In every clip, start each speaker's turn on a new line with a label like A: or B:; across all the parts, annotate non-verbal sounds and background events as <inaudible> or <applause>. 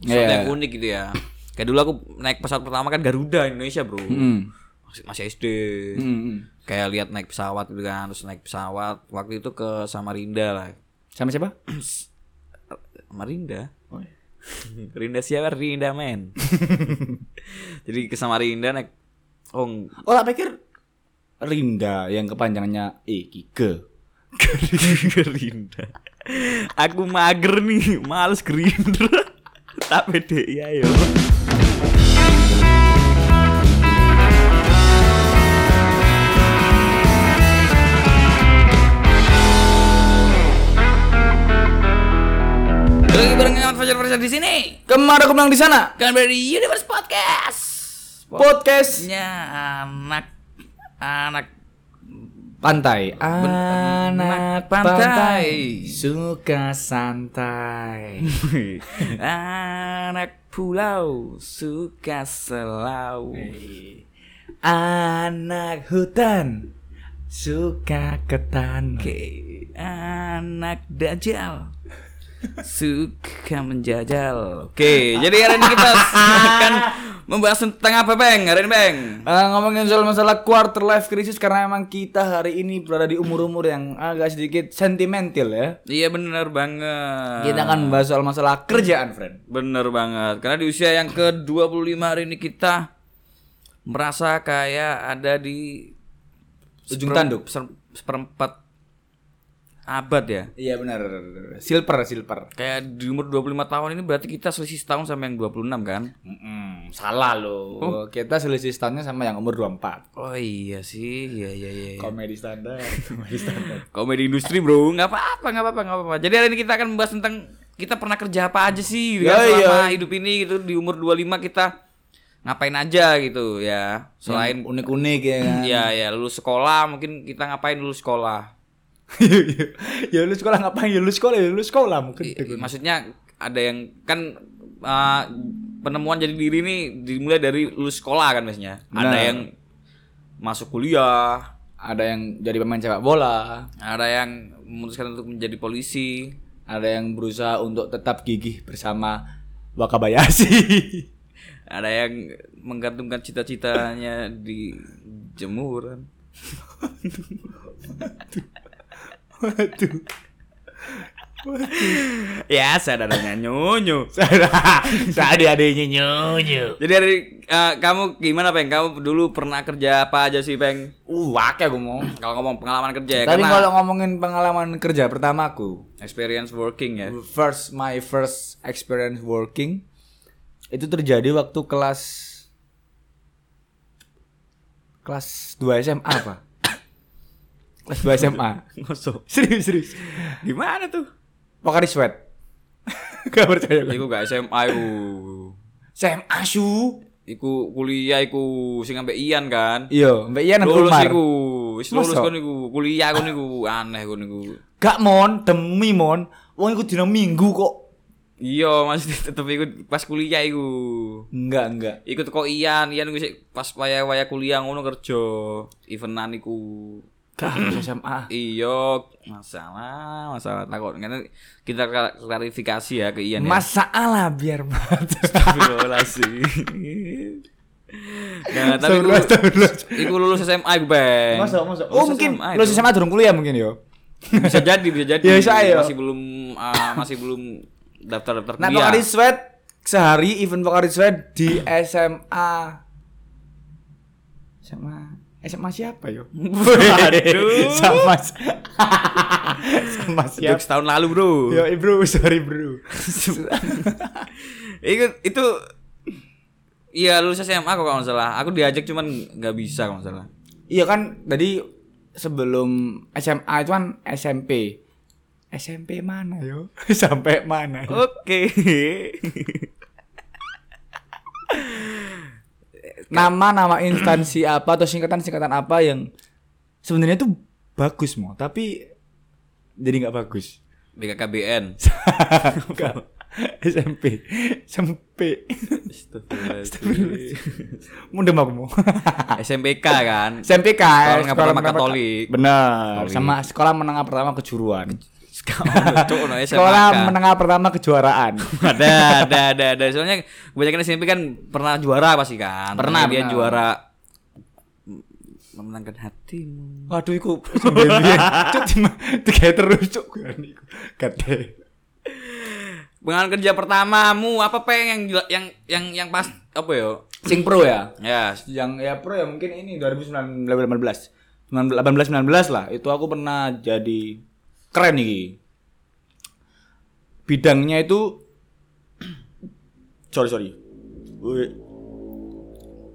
A: sesuatu
B: Iya.
A: yang unik gitu ya kayak dulu aku naik pesawat pertama kan Garuda Indonesia bro
B: Hmm.
A: masih, masih SD
B: Hmm, hmm.
A: kayak lihat naik pesawat gitu kan terus naik pesawat waktu itu ke Samarinda lah
B: Sama siapa?
A: Samarinda <laughs>
B: Oh, iya.
A: Rinda siapa Rinda
B: <laughs>
A: men jadi ke Samarinda naik oh ng-
B: Oh, tak pikir Rinda yang kepanjangannya Ikige.
A: Gerindra. Aku mager nih, males Gerindra. Tak ya, PDI ayo. Lagi bareng dengan Fajar Fajar di sini.
B: Kemana aku bilang di sana?
A: Kalian dari Universe Podcast.
B: Podcast
A: Podcastnya anak anak
B: pantai.
A: Anak
B: Anak
A: pantai.
B: pantai suka <laughs> santai.
A: anak pulau suka selau.
B: Anak hutan suka ketan.
A: Oke, anak dajal suka menjajal. Oke, jadi hari ini kita akan membahas tentang apa, Bang? Hari ini, Bang.
B: Eh, ngomongin soal masalah quarter life crisis karena emang kita hari ini berada di umur-umur yang agak sedikit sentimental ya. Eh,
A: Iya bener banget.
B: Kita akan membahas soal masalah kerjaan, friend.
A: Bener banget. Karena di usia yang ke-25 hari ini kita merasa kayak ada di
B: Ujung
A: seperem-
B: tanduk.
A: ser- seperempat abad ya.
B: Iya benar. Silver, silver.
A: Kayak di umur 25 tahun ini berarti kita selisih setahun sama yang 26 kan?
B: Mm-mm, salah lo. Oh, Kita selisih standnya sama yang umur 24.
A: Oh iya sih, iya iya iya. iya.
B: Komedi standar. <laughs> Komedi standar.
A: Komedi industri bro, nggak apa-apa, nggak apa-apa, nggak apa-apa. Jadi hari ini kita akan membahas tentang kita pernah kerja apa aja sih gitu, kan,
B: Ya,
A: selama hidup ini gitu di umur 25 kita ngapain aja gitu ya. Selain
B: unik-unik ya kan.
A: ya ya lulus sekolah mungkin kita ngapain lulus sekolah.
B: <laughs> ya lu sekolah ngapain? Ya lu sekolah, ya lu sekolah mungkin.
A: I- Maksudnya ada yang kan uh, penemuan jadi diri ini dimulai dari lulus sekolah kan biasanya. Ada
B: Benar.
A: yang masuk kuliah,
B: Ada yang jadi pemain sepak bola,
A: ada yang memutuskan untuk menjadi polisi.
B: ada yang berusaha untuk tetap gigih bersama <laughs> Wakabayashi.
A: ada yang menggantungkan cita-citanya di jemuran
B: Waduh.
A: ya sadarnya nyonyo
B: Saat adiknya nyonyo.
A: jadi dari eh, kamu gimana peng kamu dulu pernah kerja apa aja sih peng
B: Uh, wake aku mau.
A: kalau ngomong pengalaman kerja ya
B: Tadi
A: karena
B: kalau ngomongin pengalaman kerja pertamaku,
A: experience working ya
B: first my first experience working itu terjadi waktu kelas kelas 2 SMA apa? kelas 2 SMA.
A: ngosok
B: serius serius.
A: gimana tuh
B: Pokari sweat. Gak percaya gue.
A: iku gak SMA iku
B: SMA su.
A: iku kuliah iku sing ambek Ian kan
B: Iya, Mbak Ian nang
A: lulus
B: Umar.
A: iku wis lulus
B: Masa?
A: kon iku kuliah kon iku aneh kon iku
B: Gak mon, demi mon. Wong iku dina Minggu kok.
A: iya maksudnya <laughs> tetep iku pas kuliah iku
B: Enggak, enggak.
A: ikut kok Ian Ian gue sih pas waya waya kuliah ngono kerja eventan iku
B: Gak SMA.
A: iya masalah masalah takut karena kita kla- klarifikasi ya ke Ian <laughs> ya.
B: Masalah biar mati. <laughs>
A: Astagfirullahaladzim. nah, tapi iku,
B: Astagfirullah.
A: iku lulus SMA iku bang
B: Masa, masa. Oh, mungkin lu
A: itu.
B: SMA durung kuliah mungkin yo.
A: bisa jadi bisa jadi
B: Ya, bisa, ayo.
A: masih belum ah, masih belum daftar daftar
B: Nah,
A: kuliah
B: Pokari Sweat sehari event Pokari Sweat di SMA SMA SMA siapa yo?
A: Waduh.
B: <laughs> sama s- sama
A: Jokes
B: siapa?
A: setahun lalu bro <laughs>
B: Yo, eh, bro, sorry bro.
A: itu itu iya lulus SMA kok kalau nggak salah aku diajak cuman nggak bisa kalau nggak salah
B: Iya kan tadi sebelum SMA itu kan SMP. SMP mana yo? <laughs> Sampai mana? yo?
A: <laughs> oke
B: Nama-nama instansi apa atau singkatan-singkatan apa yang sebenarnya tuh bagus mau, tapi jadi nggak <laughs> bagus.
A: BKKBN
B: Enggak. SMP. SMP. Mundem aku mau.
A: SMPK kan
B: <laughs> SMP kan
A: Sekolah menengah pertama Katolik.
B: Benar.
A: Katolik.
B: Sama sekolah menengah pertama kejuruan.
A: Cuk, no, SMA
B: Sekolah
A: kan.
B: menengah pertama kejuaraan.
A: ada <laughs> ada ada ada soalnya kebanyakan SMP kan pernah juara pasti kan
B: Pernah,
A: dia
B: pernah.
A: juara memenangkan hatimu
B: Waduh, iku <laughs> sembilan Cuk, cuma tiga terus cuk. Gede.
A: pengalaman kerja pertamamu apa peng yang jela- yang yang yang pas apa ya
B: Sing pro ya?
A: ya
B: Yang ya pro ya mungkin ini 2019 18 18 19 lah. Itu aku pernah jadi keren nih. Bidangnya itu <clears throat> sorry sorry. Gue-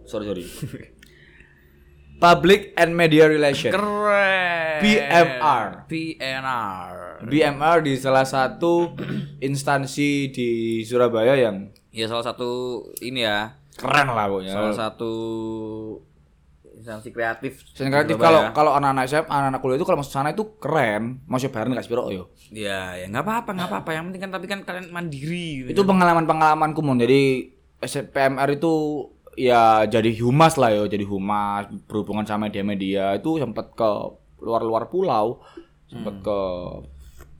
B: Sorry
A: <laughs>
B: sorry. Public and Media Relation.
A: keren
B: PMR.
A: PNR
B: BMR di salah satu
A: <clears throat>
B: instansi di Surabaya yang
A: ya salah satu ini ya
B: keren lah pokoknya.
A: salah satu instansi kreatif ya.
B: Sen kreatif
A: Surabaya.
B: kalau kalau anak-anak SMA, anak-anak kuliah itu kalau masuk sana itu keren, masuk bareng gak sepiro yo.
A: ya ya nggak apa-apa nggak apa-apa yang penting kan tapi kan kalian mandiri
B: Itu pengalaman-pengalamanku mon. Jadi SPMR itu ya jadi humas lah yo, jadi humas berhubungan sama media media itu sempat ke luar-luar pulau, sempat ke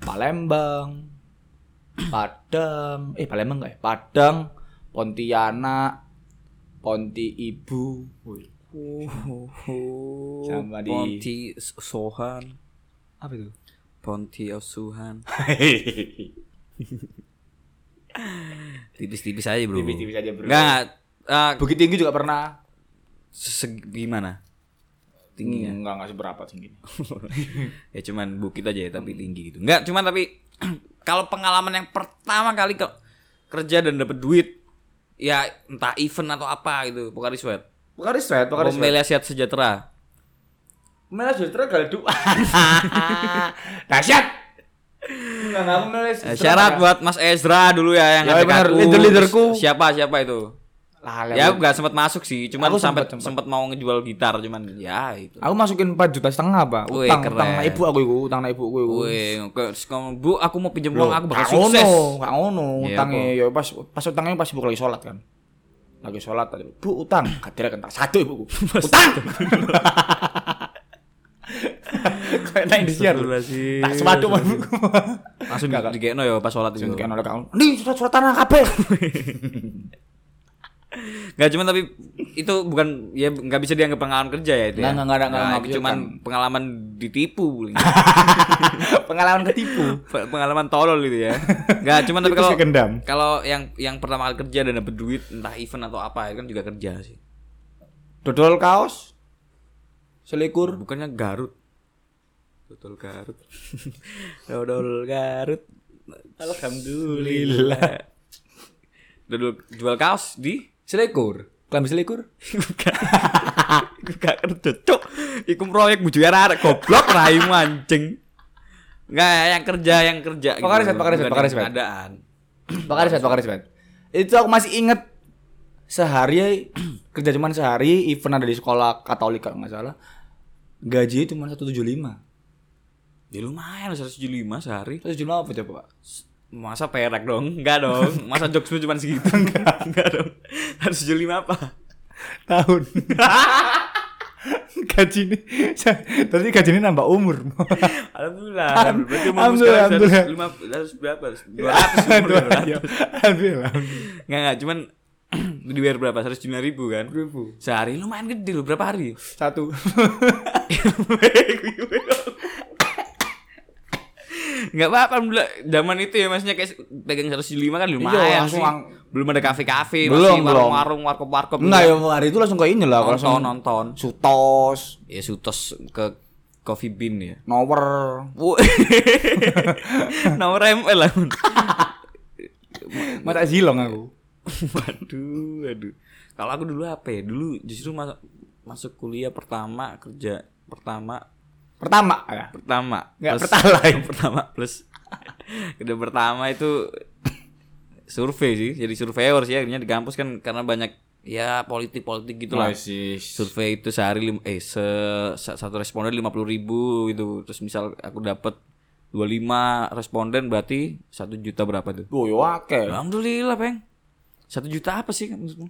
B: Palembang, Padang, eh Palembang enggak ya? Padang, Pontianak, Ponti Ibu.
A: Oh,
B: Sama di-
A: Ponti Sohan,
B: Apa itu?
A: Ponti Asuhan. Tipis-tipis aja, Bro.
B: <laughs> Tipis-tipis aja, Bro.
A: Enggak,
B: Bukit Tinggi juga pernah.
A: gimana? <laughs>
B: Tingginya enggak enggak seberapa tingginya.
A: ya cuman bukit aja ya, tapi tinggi gitu. Enggak, cuman tapi <clears throat> kalau pengalaman yang pertama kali ke kerja dan dapet duit ya entah event atau apa gitu, Pokari Sweat.
B: Pokari sweat, pokari sweat.
A: Pemilih Sehat Sejahtera.
B: Mela justru
A: <laughs>
B: galdu. Dahsyat. Enggak enggak aku nulis.
A: Eh, syarat buat Mas Ezra dulu ya yang
B: Ya,
A: ngajak
B: bener,
A: aku.
B: leader-leaderku.
A: Siapa siapa itu?
B: Lale.
A: ya aku gak sempat masuk sih cuman
B: Aku
A: sampai
B: sempet,
A: sempat
B: sempet.
A: mau ngejual gitar cuman ya itu
B: Aku masukin 4 juta setengah, Pak.
A: Wih,
B: Utang,
A: keren.
B: utang nang ibu aku iku, utang nang ibu aku iku.
A: Woi, terus kamu bu aku mau pinjam
B: Loh,
A: uang aku bakal
B: gak ngono,
A: sukses
B: gak ngono,
A: Iya,
B: utangnya ya pas pas utangnya pas ibu lagi sholat kan. Lagi sholat tadi. Bu, utang. Kadir kan tak satu
A: <laughs>
B: ibuku. utang. <laughs> Kayak naik di siar.
A: Astagfirullahaladzim.
B: Tak sepatu Mas.
A: langsung di digekno ya pas sholat itu
B: Kayak nolak kamu. Nih surat-surat tanah
A: <laughs>
B: kabeh.
A: Gak cuman tapi itu bukan ya nggak bisa dianggap pengalaman kerja ya itu ya
B: Nggak, nggak, nggak ada- nggak ada
A: Nah, itu
B: maksud,
A: cuman
B: kan.
A: pengalaman ditipu paling.
B: Pengalaman ketipu.
A: Pe- <laughs> pengalaman tolol itu ya Gak cuman tapi
B: Itu
A: kalau
B: sih gendam.
A: kalau yang yang pertama kali kerja dan dapet duit entah event atau apa itu kan juga kerja sih
B: Dodol kaos. Selikur.
A: Bukannya Garut. Dodol <laughs> Garut. Dodol Garut.
B: Alhamdulillah.
A: Dodol jual kaos di
B: Selikur. Kelambi selikur.
A: <laughs> Gak kerja, cok. Iku proyek bujukan arek goblok raimu anjing. Enggak, yang kerja, yang kerja.
B: Pakar riset, pakar riset,
A: Bukan
B: pakar
A: yang
B: riset.
A: Keadaan.
B: <clears throat> Bakar sweat, bakar sweat. Itu aku masih inget sehari <clears throat> kerja cuman sehari event ada di sekolah Katolik kalau nggak salah gaji cuma 175
A: Ya lumayan 175 sehari.
B: 175 apa coba pak?
A: Masa perak dong? Enggak dong. Masa jokesmu cuma segitu? <laughs> Enggak. Enggak dong. 175 apa?
B: tahun <laughs> gaji ini <laughs> tadi gaji ini nambah umur <laughs> ya,
A: Alhamdulillah.
B: Alham-
A: Berarti umurmu sekarang
B: Alhamdulillah.
A: 105 harus berapa?
B: <laughs>
A: 200 umur, 200.
B: alhamdulillah
A: Enggak enggak, cuman <clears throat> dibayar berapa? 105 ribu kan? Sehari lumayan gede loh, berapa hari?
B: satu
A: Enggak apa-apa, alhamdulillah. zaman itu ya maksudnya kayak pegang 105 kan lumayan
B: Iya,
A: sih.
B: langsung ang-
A: Belum ada kafe-kafe, masih
B: Belum, belum.
A: warung-warung, warkop-warkop.
B: <laughs> Enggak
A: gitu.
B: ya hari itu langsung ke ini lah
A: nonton,
B: langsung
A: nonton.
B: Sutos,
A: Ya sutos ke Coffee Bean ya.
B: Nower. <laughs>
A: Wuh. <laughs> Nomor ML lah.
B: Mata zilong aku.
A: <laughs> Waduh, aduh. Kalau aku dulu apa ya? Dulu justru masuk masuk kuliah pertama, kerja pertama,
B: Pertama ya.
A: pertama.
B: Nggak,
A: plus- <laughs>
B: pertalite.
A: pertama plus kerja pertama itu <laughs> survei sih, jadi surveyor sih akhirnya di kampus kan karena banyak ya politik-politik gitu lah. Survei itu sehari lim- eh se- sa- satu responden 50.000 ribu gitu. Terus misal aku dapat 25 responden berarti 1 juta berapa tuh?
B: Oh, yo akeh.
A: Alhamdulillah, Peng. Satu juta apa sih menurutmu?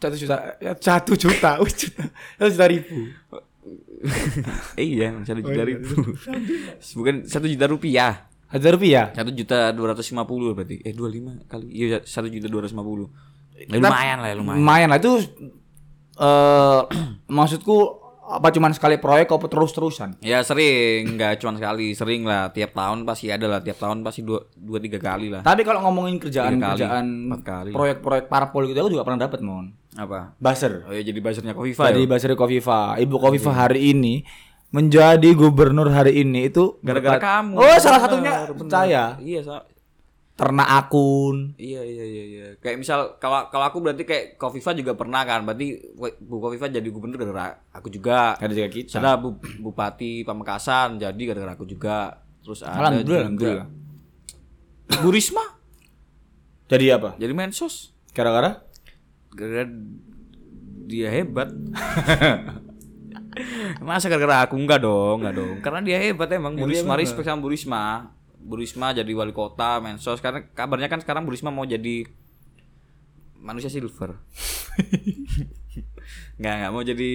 B: Satu juta, ya, satu juta, wih juta, <laughs> satu juta ribu.
A: <laughs> eh, iya, satu juta ribu. Bukan satu juta rupiah.
B: Hajar rupiah.
A: satu juta dua ratus lima puluh berarti eh dua lima kali iya satu juta dua ratus lima puluh lumayan lah ya, lumayan
B: Lumayan lah itu eh <clears throat> maksudku apa cuman sekali proyek apa terus-terusan?
A: ya sering nggak cuma sekali sering lah tiap tahun pasti ada lah tiap tahun pasti dua dua tiga kali lah
B: Tadi kalau ngomongin kerjaan
A: Tiga kali,
B: kerjaan
A: empat kali.
B: proyek-proyek parpol gitu aku juga pernah dapat mon.
A: apa
B: Baser.
A: oh ya jadi buzzernya Kofifa
B: Tadi
A: ya
B: Basri Kofifa, Ibu
A: Iya.
B: Kofifa hari ini menjadi gubernur hari ini itu
A: gara-gara
B: berkat-
A: kamu
B: Oh,
A: Bener,
B: salah satunya
A: bener.
B: saya.
A: iya sa-
B: Ternak akun.
A: Iya iya iya iya. Kayak misal kalau kalau aku berarti kayak Kofifa juga pernah kan. Berarti Bu Kofifa jadi gubernur gara-gara aku juga.
B: Ada juga kita.
A: Ada Bu- Bupati Pamekasan jadi gara-gara aku juga. Terus ada
B: Alhamdulillah,
A: juga-
B: alhamdulillah.
A: Bu Risma
B: Jadi apa?
A: jadi Mensos.
B: Gara-gara?
A: Gara-gara dia hebat. <laughs> Masa gara-gara aku enggak dong, enggak dong. Karena Iya, dia hebat emang Bu Risma respect sama Bu Risma. Bu Risma jadi wali kota, Mensos karena kabarnya kan sekarang Bu Risma mau jadi manusia <laughs> silver. Nggak, nggak mau jadi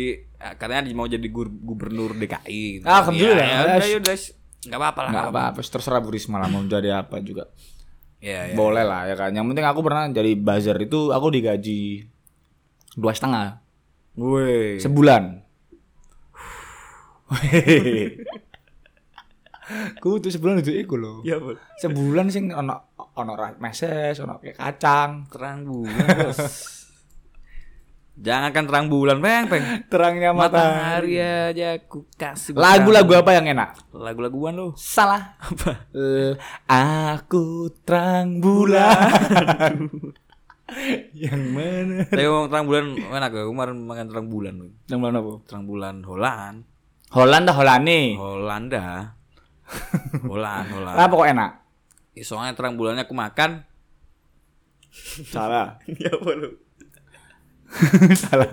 A: karena dia mau jadi gur- gubernur DKI gitu.
B: Alhamdulillah.
A: Ya, ya udah, ya udah. Nggak apa-apa lah.
B: Enggak apa-apa, terserah Bu Risma lah mau jadi apa juga.
A: Ya, ya.
B: Boleh lah ya kan. Yang penting aku pernah jadi buzzer itu aku digaji dua setengah
A: Woi.
B: Iya. sebulan. Ku tuh sebulan itu iku loh.
A: Ya, Bol.
B: Sebulan sing ono ono ra- meses, ono kayak kacang.
A: Terang bulan, Bos. Jangankan terang bulan, peng, peng.
B: Terangnya mata.
A: Matahari aja aku kasih
B: Lagu-lagu apa yang enak?
A: lagu-laguan lo.
B: Salah. Apa? aku terang bulan. <laughs> yang mana?
A: Tapi ngomong terang bulan enak ya. Kemarin makan terang bulan. Bang.
B: Yang mana, Bu?
A: Terang bulan Holland,
B: Holland dah Holland
A: Holanda. Holland, Holland.
B: Kenapa kok enak?
A: Ih, Soalnya terang bulannya aku makan.
B: Salah.
A: <laughs> Ya lu?
B: <laughs>
A: Ya
B: salah.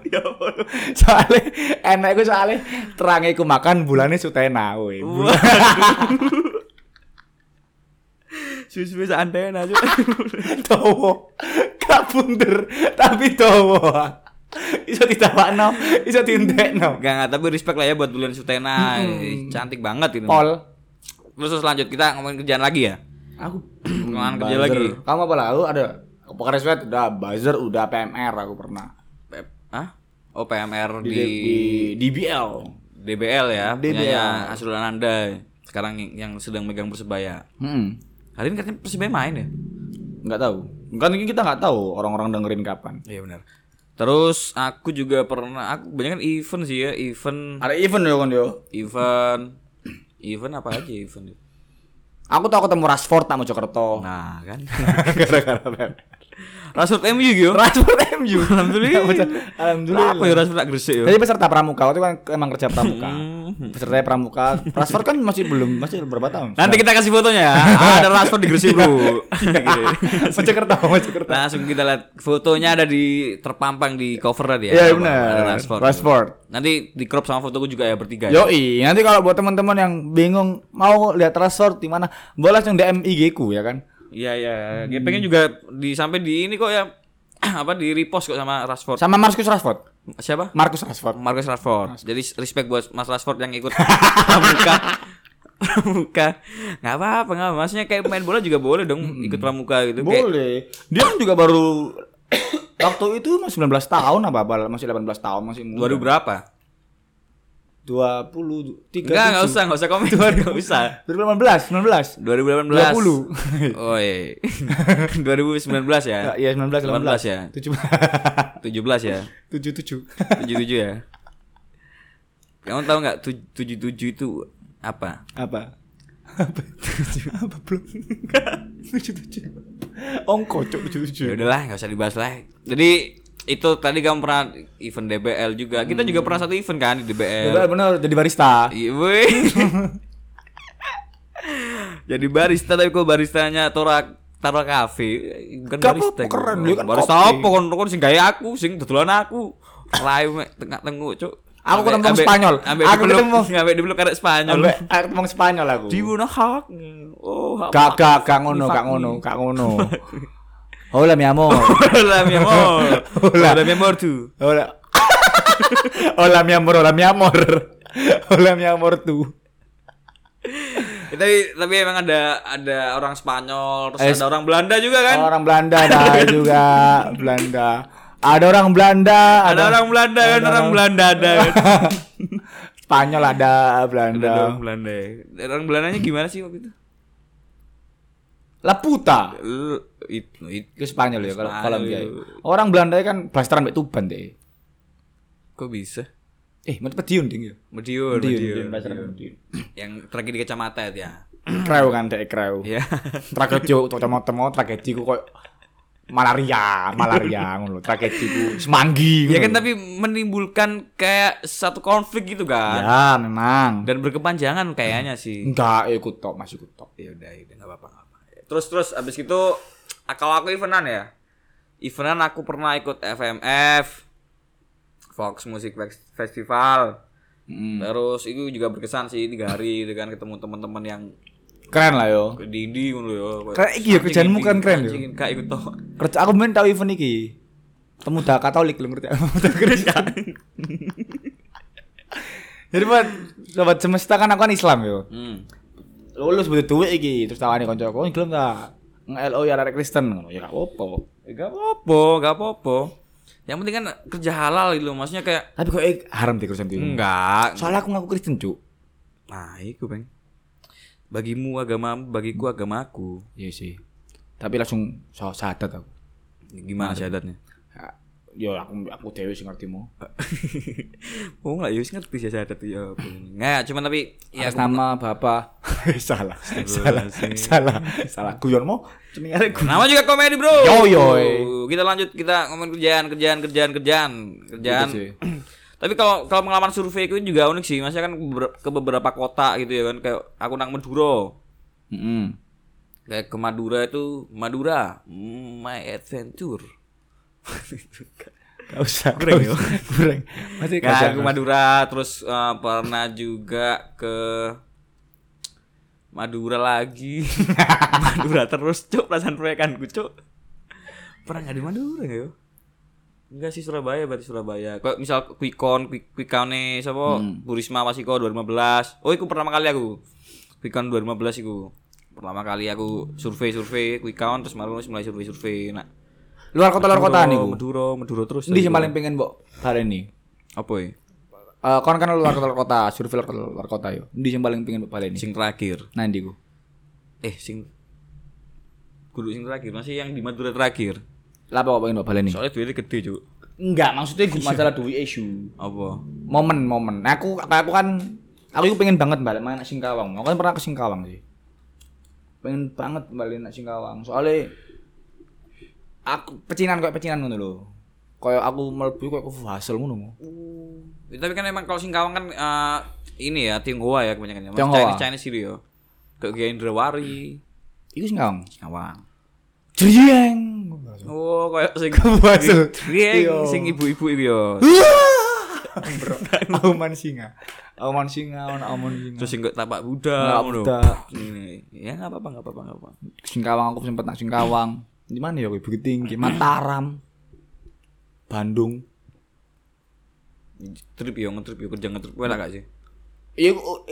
B: soalnya enak iku soalnya terang iku makan bulannya sutena we.
A: Uh. Susu bisa andain aja.
B: Dawa. Kabunder tapi dawa. Iso didawakno, iso dientekno.
A: Gak, gak, tapi respect lah ya buat bulan Sutena. Cantik banget ini.
B: Pol.
A: Terus terus lanjut kita ngomongin kerjaan lagi ya.
B: Aku <clears throat>
A: Pengalaman kerja
B: buzzer.
A: lagi.
B: Kamu apa lah? Aku ada pekerja sweat udah buzzer, udah PMR aku pernah.
A: P- Hah? Oh PMR
B: Di,
A: di,
B: di DBL.
A: DBL ya,
B: DBL.
A: punyanya Asrul Ananda. Sekarang y- yang sedang megang Persebaya.
B: Hmm.
A: Hari ini katanya Persebaya main ya?
B: Enggak tahu. Kan ini kita nggak tahu orang-orang dengerin kapan.
A: Iya benar. Terus aku juga pernah aku banyak kan event sih ya, event
B: Ada event yo kan yo.
A: event event apa aja event.
B: Aku tau ketemu Rashford
A: <laughs>
B: sama Mojokerto.
A: Nah, kan.
B: Gara-gara PMR.
A: Rashford MU gitu. Rashford MU. <laughs> Alhamdulillah.
B: Alhamdulillah.
A: Apa ya Rashford tak gresik ya?
B: Jadi peserta pramuka waktu itu kan emang kerja pramuka.
A: Hmm.
B: Peserta pramuka. Rashford kan masih belum masih berapa tahun? <laughs>
A: Nanti kita kasih fotonya <laughs> ya. Ada Rashford di Gresik, <laughs> Bro. Gitu.
B: Mojokerto, Mojokerto.
A: Langsung kita lihat fotonya ada di terpampang di cover tadi ya. Ada
B: Iya benar.
A: Rashford.
B: Rashford.
A: Nanti di crop sama fotoku juga ya bertiga. ya.
B: Yoi, nanti kalau buat teman-teman yang bingung mau lihat Rashford di mana, boleh langsung DM IG ku ya kan.
A: Iya iya. GPK juga di sampai di ini kok ya <clears throat> apa di repost kok sama Rashford.
B: Sama Marcus Rashford.
A: Siapa?
B: Marcus Rashford.
A: Marcus Rashford. Jadi respect buat Mas Rashford yang ikut <laughs> pramuka. pramuka. Nggak apa-apa, nggak apa. Maksudnya kayak main bola juga boleh dong ikut pramuka gitu. Kayak
B: Boleh. Dia kan juga baru <coughs> waktu itu masih 19 tahun apa apa masih 18 tahun masih muda.
A: 2000 berapa?
B: 20
A: Enggak, enggak usah, enggak usah komen. Enggak usah.
B: 2018, 19.
A: 2018.
B: 20.
A: Oh iya. <laughs> 2019 ya.
B: Iya, 19,
A: 18
B: 18.
A: ya.
B: <laughs> 17.
A: 17 ya. 77
B: 77.
A: ya. Kamu tahu nggak tu- 77 itu apa?
B: <laughs> Apa? Apa? Apa belum? 77. Ongko cok
A: Ya
B: 77.
A: udahlah, nggak usah dibahas lah. Jadi itu tadi kamu pernah event DBL juga. Kita juga pernah satu event kan di DBL.
B: Benar benar jadi barista.
A: Iya, woi. <laughs> Jadi barista tapi kok baristanya Torak Taro Cafe bukan
B: Gak
A: barista.
B: apa-apa, keren. Dia kan
A: barista
B: kopi.
A: apa kon kon sing gawe aku, sing dodolan aku. Layu mek tengah tenguk, Cuk.
B: Aku ketemu
A: Ambek-
B: Spanyol.
A: Ambek
B: Aku
A: dipeluk- <laughs>
B: ketemu.
A: ambek dipeluk karek Spanyol.
B: Sampai aku ngomong Spanyol aku.
A: Do you wanna hug? Oh, hug.
B: Gak
A: <laughs>
B: gak gak ngono, gak ngono, gak ngono. Hola mi amor.
A: Hola mi amor.
B: Hola.
A: Hola mi amor tuh.
B: Hola. <laughs> hola mi amor, hola mi amor. Hola mi amor tu.
A: tapi tapi emang ada ada orang Spanyol, terus ada orang Belanda juga kan?
B: Ada orang Belanda ada
A: <laughs>
B: juga Belanda. Ada orang Belanda,
A: ada, orang Belanda kan, orang Belanda ada. kan?
B: <laughs> Spanyol ada
A: ada
B: Belanda.
A: orang Belanda. ya. Dan Orang Belandanya gimana sih waktu itu?
B: Laputa.
A: L- it- it-
B: Itu Spanyol ya kalau
A: Spanyol.
B: Kolombia. ya. Orang Belanda kan blasteran sampai Tuban deh.
A: kok bisa?
B: Eh, mau Pediun ding ya.
A: Mediur,
B: Pediun,
A: mediur.
B: blasteran <clears throat> Pediun.
A: Yang tragedi kacamata itu ya.
B: Kreu kan dek kreu.
A: Ya.
B: Tragedi kok temo-temo tragedi ku koyo malaria, malaria ngono lho. Tragedi ku semanggi
A: <laughs> ya kan
B: lho.
A: tapi menimbulkan kayak satu konflik gitu kan.
B: Ya, memang.
A: Dan berkepanjangan kayaknya sih.
B: Enggak, eh, ikut tok, masih ikut tok.
A: ya udah ya udah nggak apa-apa nggak apa terus terus abis itu ah, kalau aku eventan ya eventan aku pernah ikut FMF Fox Music Fes- Festival
B: Hmm.
A: terus itu juga berkesan sih tiga hari dengan ketemu teman-teman yang
B: Keren lah yo.
A: ke Didi ngono yo
B: Keren iki ya, kerjaanmu ya? keren-keren yo.
A: kak ikut toh
B: Kerja aku main tahu event iki. Temu dah Katolik lho ngerti. <laughs> Temu Kristen. Jadi buat sobat semesta kan aku kan Islam yo.
A: hmm.
B: Lulus butuh duit iki, terus tawani kanca aku, "Oh, gelem ta?" LO ya arek Kristen ngono. Ya gak apa-apa.
A: Eh, gak apa-apa gak apa-apa yang penting kan kerja halal gitu loh. maksudnya kayak
B: Tapi kok eh, haram deh Kristen itu.
A: enggak
B: Soalnya aku ngaku Kristen, Cuk.
A: nah itu peng bagimu agama bagiku agamaku
B: Iya sih. Tapi langsung so sadat aku.
A: gimana syahadatnya
B: Ya, Yo aku aku dewe sing ngerti mau. <laughs>
A: oh nggak Yus ngerti sih saya tuh ya apa ini. nggak cuman tapi ya
B: Atas nama Bapak. <laughs> salah. Salah. Salah. Salah. Guyon mau jenenge arek guyon.
A: nama juga komedi bro
B: Yo, eh. yoy.
A: kita lanjut kita ngomongin kerjaan kerjaan kerjaan kerjaan kerjaan
B: Gitu sih.
A: <clears throat> tapi kalau kalau pengalaman survei itu juga unik sih maksudnya kan beber- ke beberapa kota gitu ya kan kayak aku nang Maduro
B: Heeh.
A: kayak ke Madura itu Madura mm, my adventure <laughs> kan.
B: Gak usah.
A: Kurang,
B: gak
A: yo.
B: usah. Kurang. Masih
A: Nah, ke
B: kagak.
A: Madura terus eh, pernah juga ke Madura lagi. <laughs> Madura terus, Cuk, perasaan proyekanku, Cuk. Pernah nggak di Madura nggak yo? Enggak sih Surabaya berarti Surabaya. Kok misal Quickon, Quick Quickone sapa Burisma Wasiko 2015. Oh, iku pertama kali aku. Quickon 2015 iku. Pertama kali aku survei-survei Quickon terus malu mulai survei-survei. Nah,
B: Luar kota luar kota niku.
A: Madura, Madura terus. Iya.
B: Endi sing paling pengen mbok baleni?
A: Apa ya?
B: Eh kon kan luar kota luar kota, survei luar kota luar kota yo. Endi sing paling pengen mbok baleni?
A: Sing terakhir.
B: Nah, endi ku?
A: eh sing kudu sing terakhir masih yang di Madura terakhir
B: Lah apa kok pengen mbok baleni?
A: soalnya duitnya gede cuk
B: Enggak, maksudnya gue masalah duit issue.
A: apa
B: momen-momen. Nah, aku aku kan aku itu pengen banget balik main nak Singkawang. Aku kan pernah ke Singkawang sih. Pengen banget balik nak Singkawang. Soalnya aku pecinan kayak pecinan ngono lho. Kayak aku mlebu kayak aku hasil ngono.
A: Ya, tapi kan emang kalau Singkawang kan eh, ini ya Tionghoa ya kebanyakan ya Mas
B: Tionghoa.
A: Chinese Chinese gitu ya kayak Gia Indrawari
B: Iku Singkawang.
A: Singkawang
B: Jrieng.
A: oh kayak sing
B: Hasil.
A: Rieng,
B: Iya.
A: sing ibu-ibu itu ya
B: Bro, auman singa. Auman singa, auman singa.
A: terus sing kayak tapak Buddha
B: Nggak
A: ngono.
B: Buddha.
A: ini ya nggak apa-apa nggak apa-apa nggak apa
B: Singkawang aku sempet nak Singkawang. Di mana ya kowe Bukit Tinggi, Mataram. Bandung.
A: trip yo ngetrip yo kerja ngetrip enak gak sih
B: Iya, ku-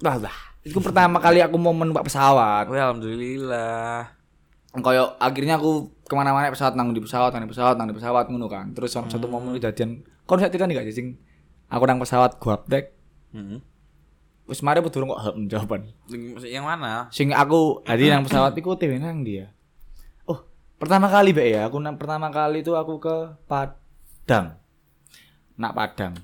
B: lah lah. Itu pertama kali aku mau numpak pesawat.
A: Wah alhamdulillah
B: Kayak akhirnya aku kemana-mana naik pesawat nang di pesawat, nang di pesawat, nang di pesawat ngono kan. Terus satu satu momen kejadian, kau saya tidak nih gak sih? Aku nang pesawat gua update.
A: hmm.
B: Wis mari aku durung kok hem jawaban.
A: Mm-hmm. yang mana
B: Sing aku tadi nang pesawat iku tewe nang dia. Oh, pertama kali Mbak ya, aku nang pertama kali itu aku ke Padang. Nak Padang.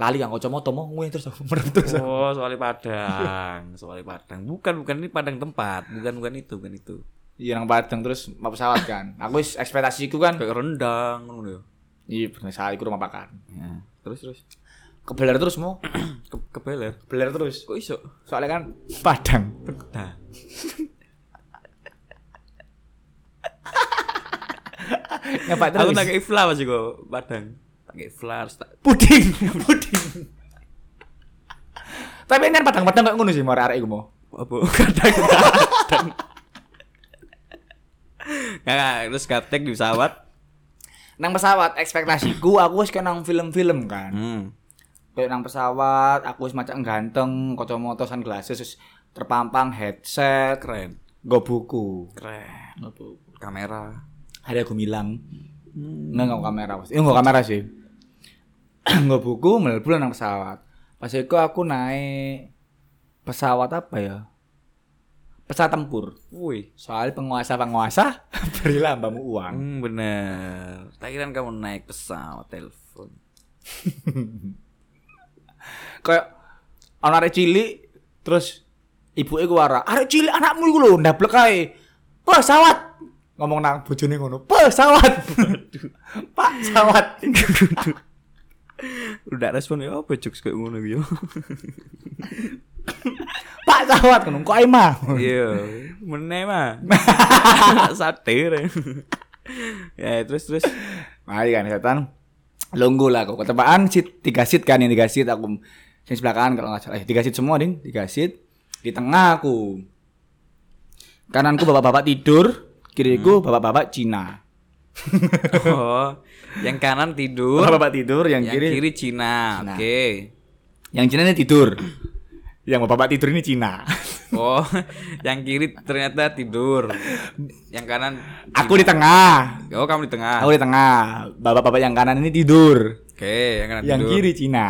B: Lali yang kacamata mau nguyen terus aku <laughs> merem terus.
A: Oh, soalnya Padang, soalnya Padang. Bukan, bukan ini Padang tempat, bukan, bukan itu, bukan itu.
B: Iya nang Padang terus mau pesawat kan. Aku wis ekspektasiku kan
A: Kayak rendang, ngono ya.
B: Iya, bener saya iku rumah pakan.
A: Terus, terus. <clears throat>
B: Kebeler terus mau,
A: Ke, kebeler.
B: kebeler terus.
A: Kok iso?
B: Soalnya kan Padang.
A: Nah,
B: Nyepak terus.
A: aku tak kayak ifla masih kok Padang. Tak kayak ifla, harus tak.
B: puding, <laughs> puding. Tapi ini kan Padang-Padang kayak ngono sih mau arek iku mau.
A: Apa? <laughs> Kadang kadang. Kakak, terus gaptek di pesawat.
B: Nang pesawat ekspektasiku aku wis kayak nang film-film kan.
A: Hmm.
B: Kayak nang pesawat aku wis macam ganteng, kacamata san glasses terus terpampang headset
A: Keren.
B: nggo buku
A: Keren. Kamera.
B: ada gumilang nggak nggak kamera pasti nggak kamera sih <clears throat> nggak buku melebu nang pesawat pas itu aku naik pesawat apa ya pesawat tempur
A: Woi.
B: soal penguasa <laughs> penguasa berilah mbakmu uang
A: Hmm, bener. Tak kirain kamu naik pesawat telepon.
B: kayak ana arek cilik terus ibuke ku wara arek cilik anakmu iku lho ndablek ae pesawat ngomong nang bojone ngono pesawat <laughs> pak pesawat
A: Udah respon ya apa jokes kayak ngono gitu.
B: pak pesawat ngono kok ae mah
A: Iya. Meneh
B: <laughs>
A: mah. Satir. ya terus terus.
B: mari kan setan lunggu lah kok ketepaan seat tiga seat kan yang tiga seat aku yang sebelah kanan kalau nggak salah eh, tiga seat semua ding tiga seat di tengah aku kananku bapak-bapak tidur kiriku
A: Hmm.
B: bapak-bapak Cina
A: Oh, yang kanan tidur,
B: bapak-bapak tidur yang,
A: yang
B: kiri
A: kiri Cina.
B: Cina.
A: Oke.
B: Yang Cina ini tidur. Yang bapak-bapak tidur ini
A: <laughs>
B: Cina.
A: Oh, yang kiri ternyata tidur. Yang kanan
B: Aku di tengah.
A: Oh, kamu di tengah.
B: Aku di tengah. Bapak-bapak yang kanan ini tidur.
A: Oke, yang kanan
B: Yang
A: tidur.
B: kiri Cina.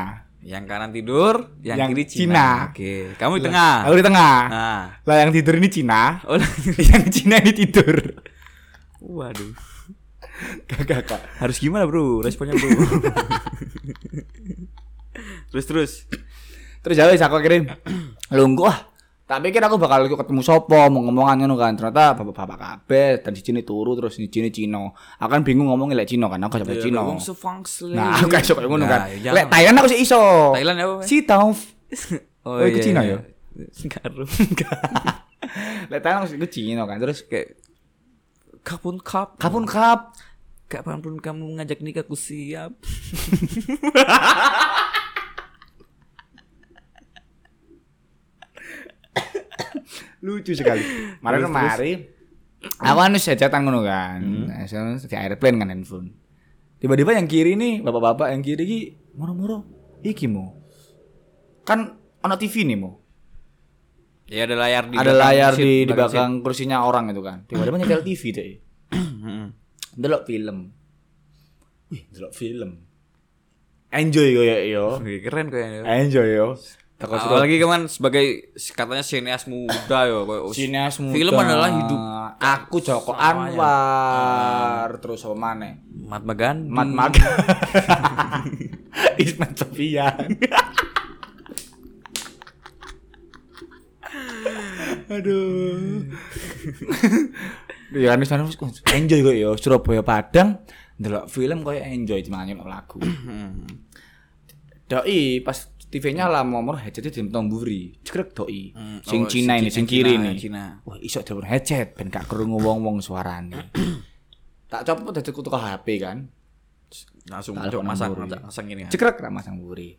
A: Yang kanan tidur, yang,
B: Yang
A: kiri Cina.
B: Cina. Iya.
A: Oke, kamu di tengah.
B: Aku di tengah.
A: Nah.
B: Lah yang tidur ini Cina. <laughs>
A: Oh, <laughs>
B: yang Cina ini tidur. <laughs>
A: waduh.
B: Gak kak.
A: Harus gimana, Bro? Responnya,
B: <laughs>
A: Bro. terus terus.
B: Terus jauh aku <clears throat> kirim. Lunggu ah. Tak pikir aku bakal ketemu sopo mau ngomongan ngono kan. Ternyata bapak-bapak kabeh dan di sini turu terus di sini Cina. Aku kan bingung ngomongin lek Cina kan aku sampai Cina.
A: Iya, Wong sefangsi.
B: Nah, aku gak iso kayak ngono
A: Nah,
B: kan.
A: ya jangan.
B: Lek Thailand aku sih iso.
A: Thailand apa?
B: Si Tauf.
A: Oh, iya.
B: Oh, iku Cina ya?
A: <laughs> Sekarang.
B: Lek Thailand aku Cina kan. Terus
A: Kayak kapun kap.
B: kapun kap.
A: Kapanpun kamu ngajak nikah aku siap.
B: Lucu sekali. Mari mari. Aku anu sejatan ngono kan. Nah, saya di airplane kan handphone. Tiba-tiba yang kiri nih, bapak-bapak yang kiri ki moro-moro iki mo. Kan ono TV nih mo.
A: Ya ada layar di
B: Ada
A: belakang
B: layar
A: seat,
B: di di
A: seat.
B: belakang kursinya orang itu kan. Tiba-tiba nyetel TV deh. Hmm. Delok film. Wih, delok film. Enjoy yo yo <laughs> yo.
A: Oke, keren kayaknya.
B: Enjoy yo. Takut
A: Kalau lagi kan sebagai katanya sineas muda ya kayak
B: <laughs>
A: us-
B: Sineas muda.
A: Film adalah hidup. ya.
B: Aku Joko Anwar terus sama mana?
A: Mahatma Gandhi.
B: Mat Mat. <laughs> Ismet Sofian. Aduh. <laughs> ya kan sana enjoy kok ya Surabaya Padang ndelok film koyo enjoy dimangan nyelok lagu.
A: Hmm.
B: doi pas TV-nya lah nomor headset di tomburi. Cekrek doi.
A: Hmm, oh,
B: Sing Cina ini, sing
A: Cina,
B: kiri
A: Cina,
B: ini.
A: Cina.
B: Wah, iso dhewe headset ben gak krungu wong-wong
A: <clears throat>
B: suarane. tak copot dadi kutu HP kan.
A: Langsung
B: Tak
A: cok
B: ada
A: masang
B: nomor
A: masang- masang ini.
B: Cekrek ra masang buri.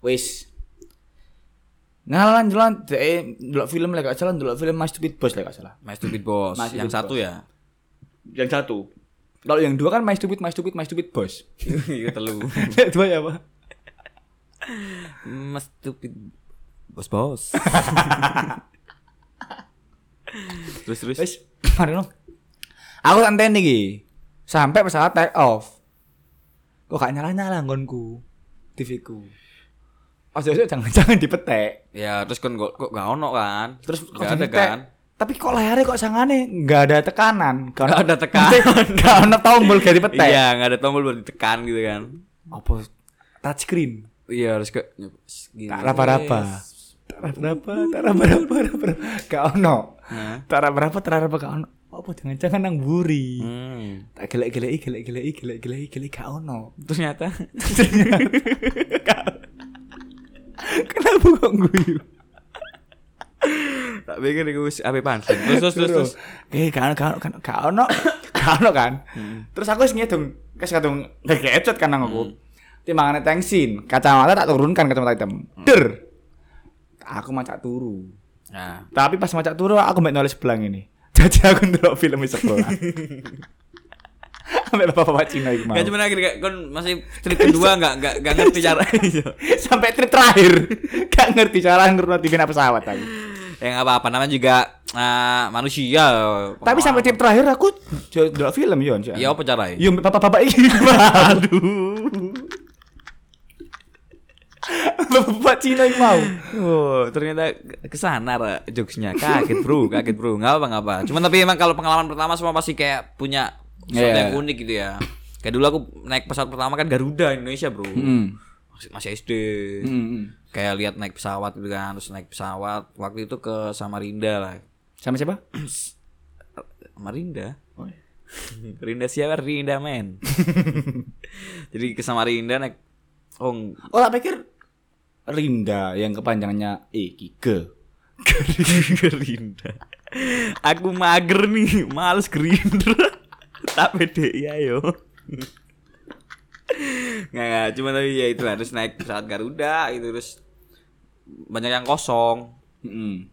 B: Wis. Ngalan jalan dhewe ndelok film lek gak salah ndelok film My Stupid Boss lek gak salah.
A: My Stupid Boss
B: My Stupid
A: yang satu ya. <laughs>
B: Yang satu. Kalau yang dua kan My Stupid My Stupid My Stupid Boss.
A: Iya
B: <laughs>
A: telu.
B: Yang dua ya, Pak.
A: Mas Stupid Boss Boss. <laughs> terus terus.
B: Wis, mari no. Aku tak enteni iki. Sampai pesawat take off. Kok gak nyala-nyala nggonku. TV-ku. Ojo-ojo jangan-jangan dipetek.
A: Ya terus kan kok kok gak ono kan?
B: Terus kok
A: gak ada
B: jadi tek?
A: kan?
B: Tapi kok layarnya kok sangane nggak ada tekanan, nggak
A: Nggak ada tekanan.
B: <laughs> nggak ada tombol ganti petek.
A: Iya, gak ada tombol buat ditekan gitu kan.
B: Apa touch screen?
A: Iya harus ke gini.
B: Tak raba-raba. Tak raba-raba, tak raba-raba, raba-raba. Gak ono.
A: Nah.
B: Tak raba-raba, tak raba-raba gak ono. Apa jangan-jangan nang buri?
A: Hmm.
B: Tak gelek-geleki, gelek-geleki, gelek-geleki, gelek gak <laughs> ono.
A: <laughs> Ternyata
B: Kenapa kok guyu?
A: tak pikir iku wis ape pancing. Terus terus terus. terus.
B: Eh, gak ono, gak ono, gak ono. <coughs> Gak ono kan? Terus aku wis ngedung, wis kadung ngegecet kan nang aku. Timbangane tengsin, kacamata tak turunkan kacamata hitam. Der. Aku macak turu.
A: Nah,
B: Tapi pas macak turu aku mbak nulis belang ini. <laughs> Jadi aku ndelok film di <laughs> sekolah. Sampai bapak-bapak Cina iki mau. <laughs>
A: Gak cuma akhir kan masih trip kedua nggak nggak nggak
B: Iya.
A: ngerti cara.
B: <laughs> Sampai trip terakhir. Gak ngerti cara ngerti pesawat aku.
A: yang apa apa Ya, namanya juga eh, manusia
B: Tapi sampai tip terakhir aku delok film yo. Cak.
A: ya apa caranya
B: Yo bapak-bapak <laughs> iki. Aduh. Bapak Cina yang mau.
A: Oh, ternyata kesana Ra, jokesnya kaget bro kaget bro nggak apa nggak apa cuman tapi emang kalau pengalaman pertama semua pasti kayak punya sesuatu
B: Iya.
A: yang unik gitu ya kayak dulu aku naik pesawat pertama kan Garuda Indonesia bro
B: Hmm.
A: masih, masih SD kayak lihat naik pesawat gitu kan terus naik pesawat waktu itu ke Samarinda lah <clears throat>
B: Sama siapa?
A: Samarinda <laughs> Rinda siapa Rinda
B: <laughs>
A: men jadi ke Samarinda naik oh ng-
B: Oh, tak pikir Rinda yang kepanjangannya Iki ke.
A: Gerindra. Aku mager nih, males Gerindra. Tak PDI ayo. Nggak, nggak, cuma tapi ya itu harus naik pesawat Garuda itu terus banyak yang kosong,
B: <laughs> Mm.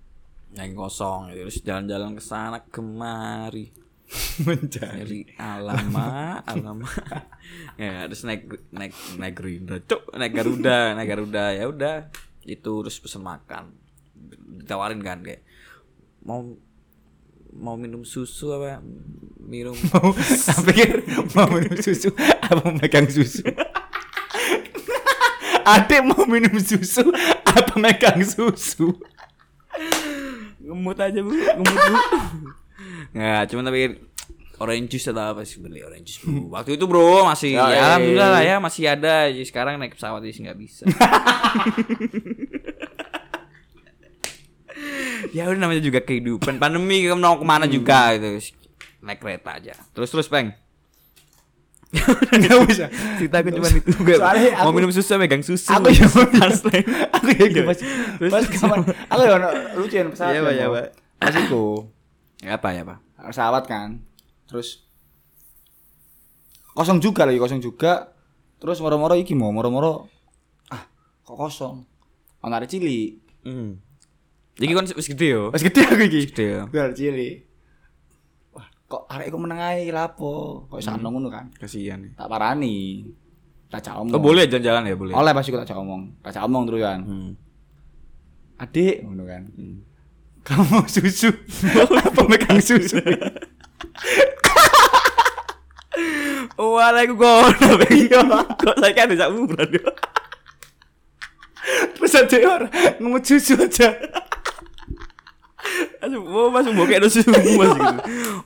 A: yang kosong gitu. terus jalan-jalan ke sana kemari
B: Mencari.
A: dari alama alama <laughs> ya terus naik naik naik Gerindra cuk naik Garuda naik Garuda ya udah itu terus pesen makan ditawarin kan kayak mau mau minum susu apa minum
B: <laughs> tak pikir mau minum susu apa megang susu. Adik mau minum susu apa megang susu.
A: ngemut aja bu ngemut bu <laughs> nggak cuman tapi orange juice atau apa sih beli orange juice bu waktu itu bro masih
B: Ya,
A: ya,
B: eh.
A: alhamdulillah lah ya masih ada Jadi sekarang naik pesawat jadi nggak bisa ya udah namanya juga kehidupan pandemi kamu mau kemana juga itu naik kereta aja terus terus peng
B: Enggak bisa.
A: cerita aku cuma itu Nggak,
B: Soalnya
A: mau
B: aku-
A: minum susu megang susu
B: aku ya
A: Translate.
B: aku ya gitu pas
A: Iya. Terus-
B: pas kapan aku ya ono lucu yang pesawat
A: Iya,
B: ya,
A: Pak, iya,
B: Pak.
A: Pak.
B: pas itu
A: apa ya pak
B: pesawat kan terus kosong juga lagi kosong juga terus moro-moro iki mau moro-moro ah kok kosong ono ada cili
A: hmm. jadi kan wis gede yo
B: pas gede aku iki
A: Gede ya.
B: Ono ada cili wah kok arek iku meneng ae lapo kok
A: Hmm.
B: sakno ngono kan
A: kasihan nih
B: tak parani tak cak omong
A: Oh boleh jalan-jalan ya boleh.
B: oleh pas iku tak cak omong tak cak omong terus kan
A: Hmm.
B: adik ngono kan kamu <laughs> mau susu apa megang
A: <laughs>
B: susu
A: Waalaikumsalam. Iya. Kok saya kan bisa umuran ya.
B: terus aja orang ngomong susu aja
A: Aduh, oh, mas mau kayak ada susumu mas
B: <laughs>
A: gitu.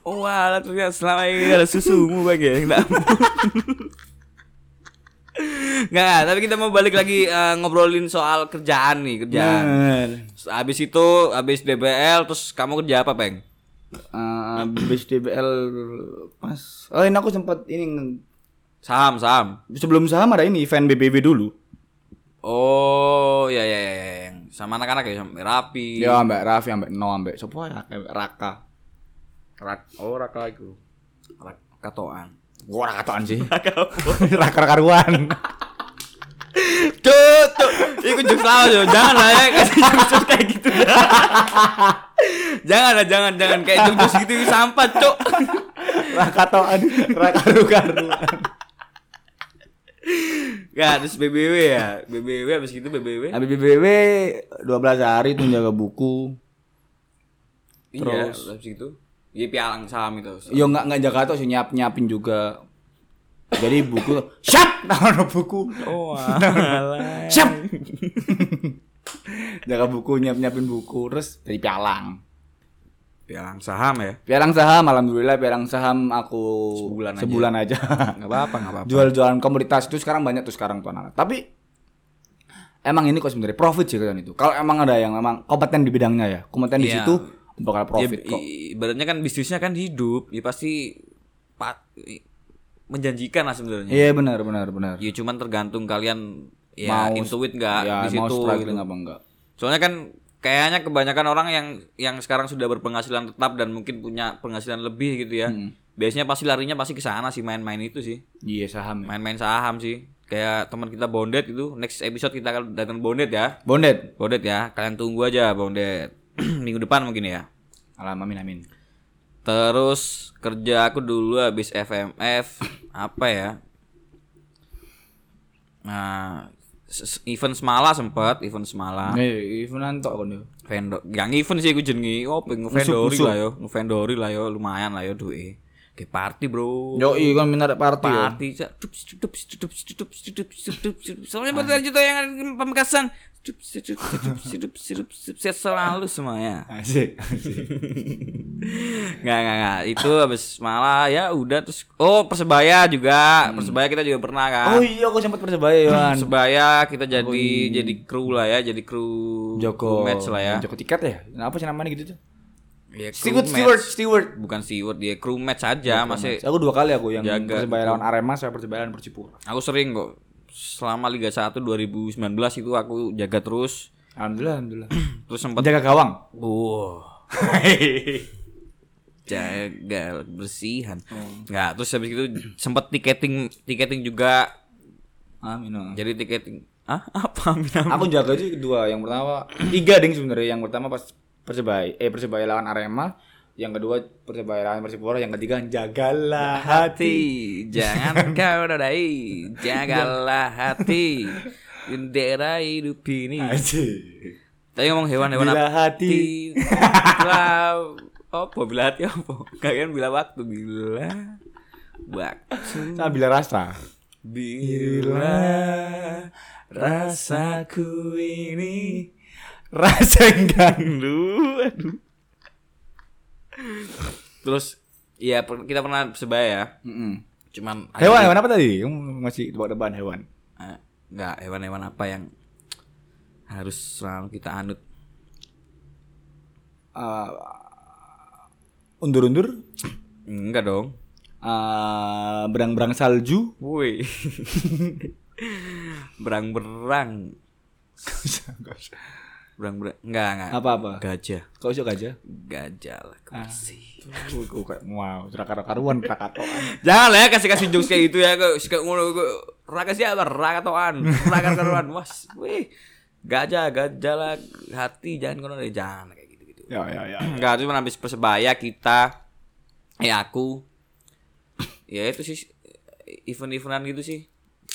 A: Oh, alah ternyata selama ini ada susumu bang ya. Enggak. Nggak, tapi kita mau balik lagi eh, ngobrolin soal kerjaan nih, kerjaan. Habis itu, habis DBL, terus kamu kerja apa, Peng?
B: Ah, Habis DBL pas oh ini aku sempat ini nge-
A: Saham, saham.
B: sebelum saham ada ini event BBB dulu
A: Oh, ya ya ya, ya. Yang sama anak-anak ya, sama Rapi.
B: ya mbak Raffi mbak No mbak siapa ya mbak Raka
A: Rak, oh Raka itu. Rak, katoan.
B: gua <laughs> Raka toan
A: <laughs>
B: sih Raka karuan
A: Tuh, tuh. Ikut jokes lama Jo. Jangan lah ya kasih jokes kayak gitu. <laughs> jangan lah, jangan, jangan kayak jokes gitu sampah, Cok.
B: Raka toan Raka karuan
A: Ya, terus BBW ya. BBW habis gitu BBW.
B: habis BBB 12 hari tuh jaga buku
A: Iya, habis gitu. Iya pialang saham itu.
B: Yo nggak nggak jaga tuh sih nyiap nyiapin juga. Jadi buku <laughs> siap taruh buku
A: Oh, alah.
B: <laughs> siap. jaga buku nyiap nyiapin buku terus dari
A: <laughs>
B: pialang.
A: Pialang saham ya.
B: Pialang saham alhamdulillah pialang saham aku
A: Sebulan aja.
B: aja. <laughs>
A: Enggak apa-apa, enggak apa-apa.
B: Jual-jualan komoditas itu sekarang banyak tuh sekarang tuh anak. Tapi emang ini kok sebenarnya profit sih kan itu. Kalau emang ada yang emang kompeten di bidangnya ya, kompeten di
A: Iya.
B: situ bakal
A: Ya,
B: profit kok.
A: i- ibaratnya kan bisnisnya kan hidup, ya pasti pat, i- menjanjikan lah sebenarnya.
B: Iya benar benar benar.
A: Ya cuman tergantung kalian ya
B: Mau-
A: intuit enggak
B: Ya,
A: di situ.
B: mau
A: gitu.
B: struggling apa enggak?
A: Soalnya kan kayaknya kebanyakan orang yang yang sekarang sudah berpenghasilan tetap dan mungkin punya penghasilan lebih gitu ya.
B: Hmm.
A: Biasanya pasti larinya pasti ke sana sih main-main itu sih.
B: Iya saham. ya.
A: Main-main saham sih. Kayak teman kita Bondet itu. Next episode kita akan datang Bondet ya.
B: Bondet.
A: Bondet ya. Kalian tunggu aja Bondet. <clears throat> Minggu depan mungkin ya.
B: Alam amin amin.
A: Terus kerja aku dulu habis FMF apa ya? Nah, se- event semala sempat, event semala.
B: Nih, even nantok kon yo.
A: Vendor, yang event sih aku jengi, oh ngevendori lah yo, ngevendori lah yo, lumayan lah yo duit. Kayak party bro.
B: Yo, iya kon minat party yo.
A: Oh. Party, cak. Dup, dup, dup, dup, dup, dup, dup. Soalnya pertanyaan juta yang ada di pamekasan. Dup, dup, dup, dup, dup, dup, Sehat selalu semuanya.
B: Asik,
A: <laughs>
B: asik.
A: Nggak, nggak, nggak. Itu habis malah ya udah terus. Oh persebaya juga, persebaya kita juga pernah kan.
B: Hmm. Oh iya, aku sempat persebaya yo. An.
A: Persebaya kita jadi jadi kru lah ya, jadi kru kru
B: Joko
A: match lah ya.
B: Joko tiket ya. Kenapa sih namanya gitu tuh?
A: ya kru
B: Steward,
A: match.
B: Steward, Steward.
A: Bukan steward dia kru match aja masih.
B: Aku dua kali aku yang
A: Jaga.
B: persebaya lawan Arema, saya persebaya lawan Persipura.
A: Aku sering kok selama Liga 1 2019 itu aku jaga terus
B: Alhamdulillah, <clears throat> alhamdulillah.
A: terus sempat
B: Penjaga gawang.
A: Wow. <laughs> jaga bersihan.
B: Hmm.
A: Nggak, terus habis itu sempat tiketing tiketing juga.
B: Amin. Om.
A: Jadi tiketing ah apa <laughs> amin amin.
B: Aku jaga sih kedua, yang pertama tiga ding sebenarnya. Yang pertama pas persebaya, eh persebaya lawan Arema. Yang kedua persebaya lawan Persipura. Yang ketiga jagalah
A: hati
B: hati. <laughs>
A: jangan kau nodai jagalah hati bendera hidup ini
B: Asik.
A: tapi ngomong hewan-hewan
B: Bila hati.
A: bila apa bila hati apa kalian bila waktu bila waktu
B: Nah, bila rasa.
A: bila rasaku ini
B: Rasa enggak.
A: aduh aduh terus ya per- kita pernah sebaya ya
B: Mm-mm.
A: cuman
B: Hewan, hewan apa tadi? Kamu masih bawa depan hewan.
A: Eh, nggak hewan-hewan apa yang harus selalu kita anut
B: Eh, undur-undur.
A: enggak dong
B: Eh, berang-berang salju.
A: woi <laughs> berang-berang
B: <laughs> Gak usah, gak usah.
A: berang-berang enggak enggak
B: Apa-apa?
A: gajah
B: Kau usah aja.
A: gajah lah kekasih.
B: Gue kayak wow, serakar karuan, rakatoan.
A: jangan lah ya kasih kasih jokes kayak itu ya kok kayak ngono kok raga siapa raga toan raga karuan was wih gajah gajah lah hati jangan kono deh jangan kayak gitu gitu
B: Ya, ya, ya.
A: Enggak, cuma habis persebaya kita eh aku ya itu sih event-eventan gitu sih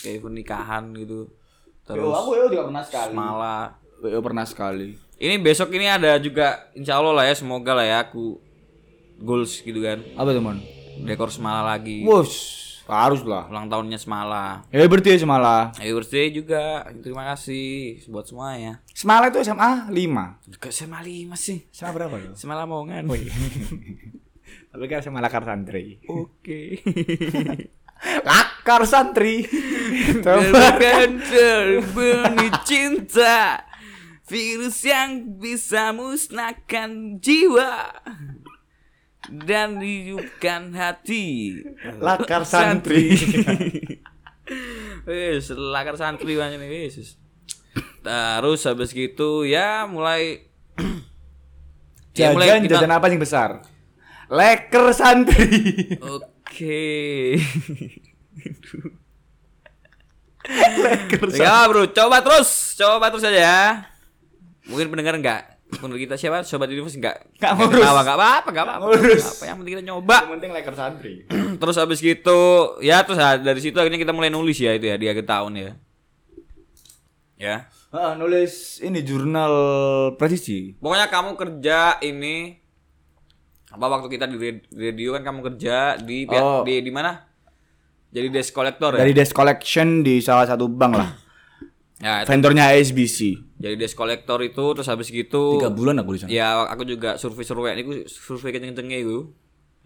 A: kayak event nikahan gitu terus
B: aku yo juga pernah sekali.
A: malah
B: Yo pernah sekali.
A: ini besok ini ada juga insya Allah lah ya semoga lah ya aku goals gitu kan
B: Apa teman?
A: dekor semala lagi
B: Wus, harus lah.
A: ulang tahunnya semala
B: Ya berarti ya semala.
A: Happy birthday juga terima kasih buat ya. semuanya
B: Semala itu SMA 5.
A: juga SMA lima sih
B: SMA berapa lo?
A: SMA Lamongan
B: Tapi kan SMA lakar santri.
A: <laughs> oke <laughs>
B: Lakar <laughs> santri. <laughs>
A: Terbakan terbunyi cinta Virus yang bisa musnahkan jiwa Dan hidupkan hati
B: Lakar santri. <laughs>
A: <laughs> Wis, lakar santri banyak nih wis. Terus habis gitu ya mulai <clears throat> Ya, mulai
B: Jajan
A: kita-
B: jajan apa yang besar? Leker santri.
A: Oke
B: Leker santri.
A: Ya bro, coba terus, coba terus aja ya. Mungkin pendengar enggak, pendengar kita siapa, sobat universe enggak,
B: Enggak ngurus.
A: ketawa, enggak apa-apa, enggak apa-apa,
B: Enggak ngurus.
A: Enggak apa, yang penting kita nyoba.
B: <laughs> Yang penting leker santri.
A: terus habis gitu, ya terus ah, dari situ akhirnya kita mulai nulis ya itu ya di akhir tahun ya. Ya,
B: Ah, nulis ini jurnal presisi.
A: pokoknya kamu kerja ini apa waktu kita di red- radio kan kamu kerja di pihak-
B: Oh.
A: di di mana? Jadi desk collector ya.
B: Dari desk collection di salah satu bank lah.
A: Ya,
B: Vendornya SBC.
A: jadi desk collector itu terus habis gitu
B: Tiga bulan aku di sana.
A: Ya, aku juga survei-survei niku survei kenceng-kencenge iku.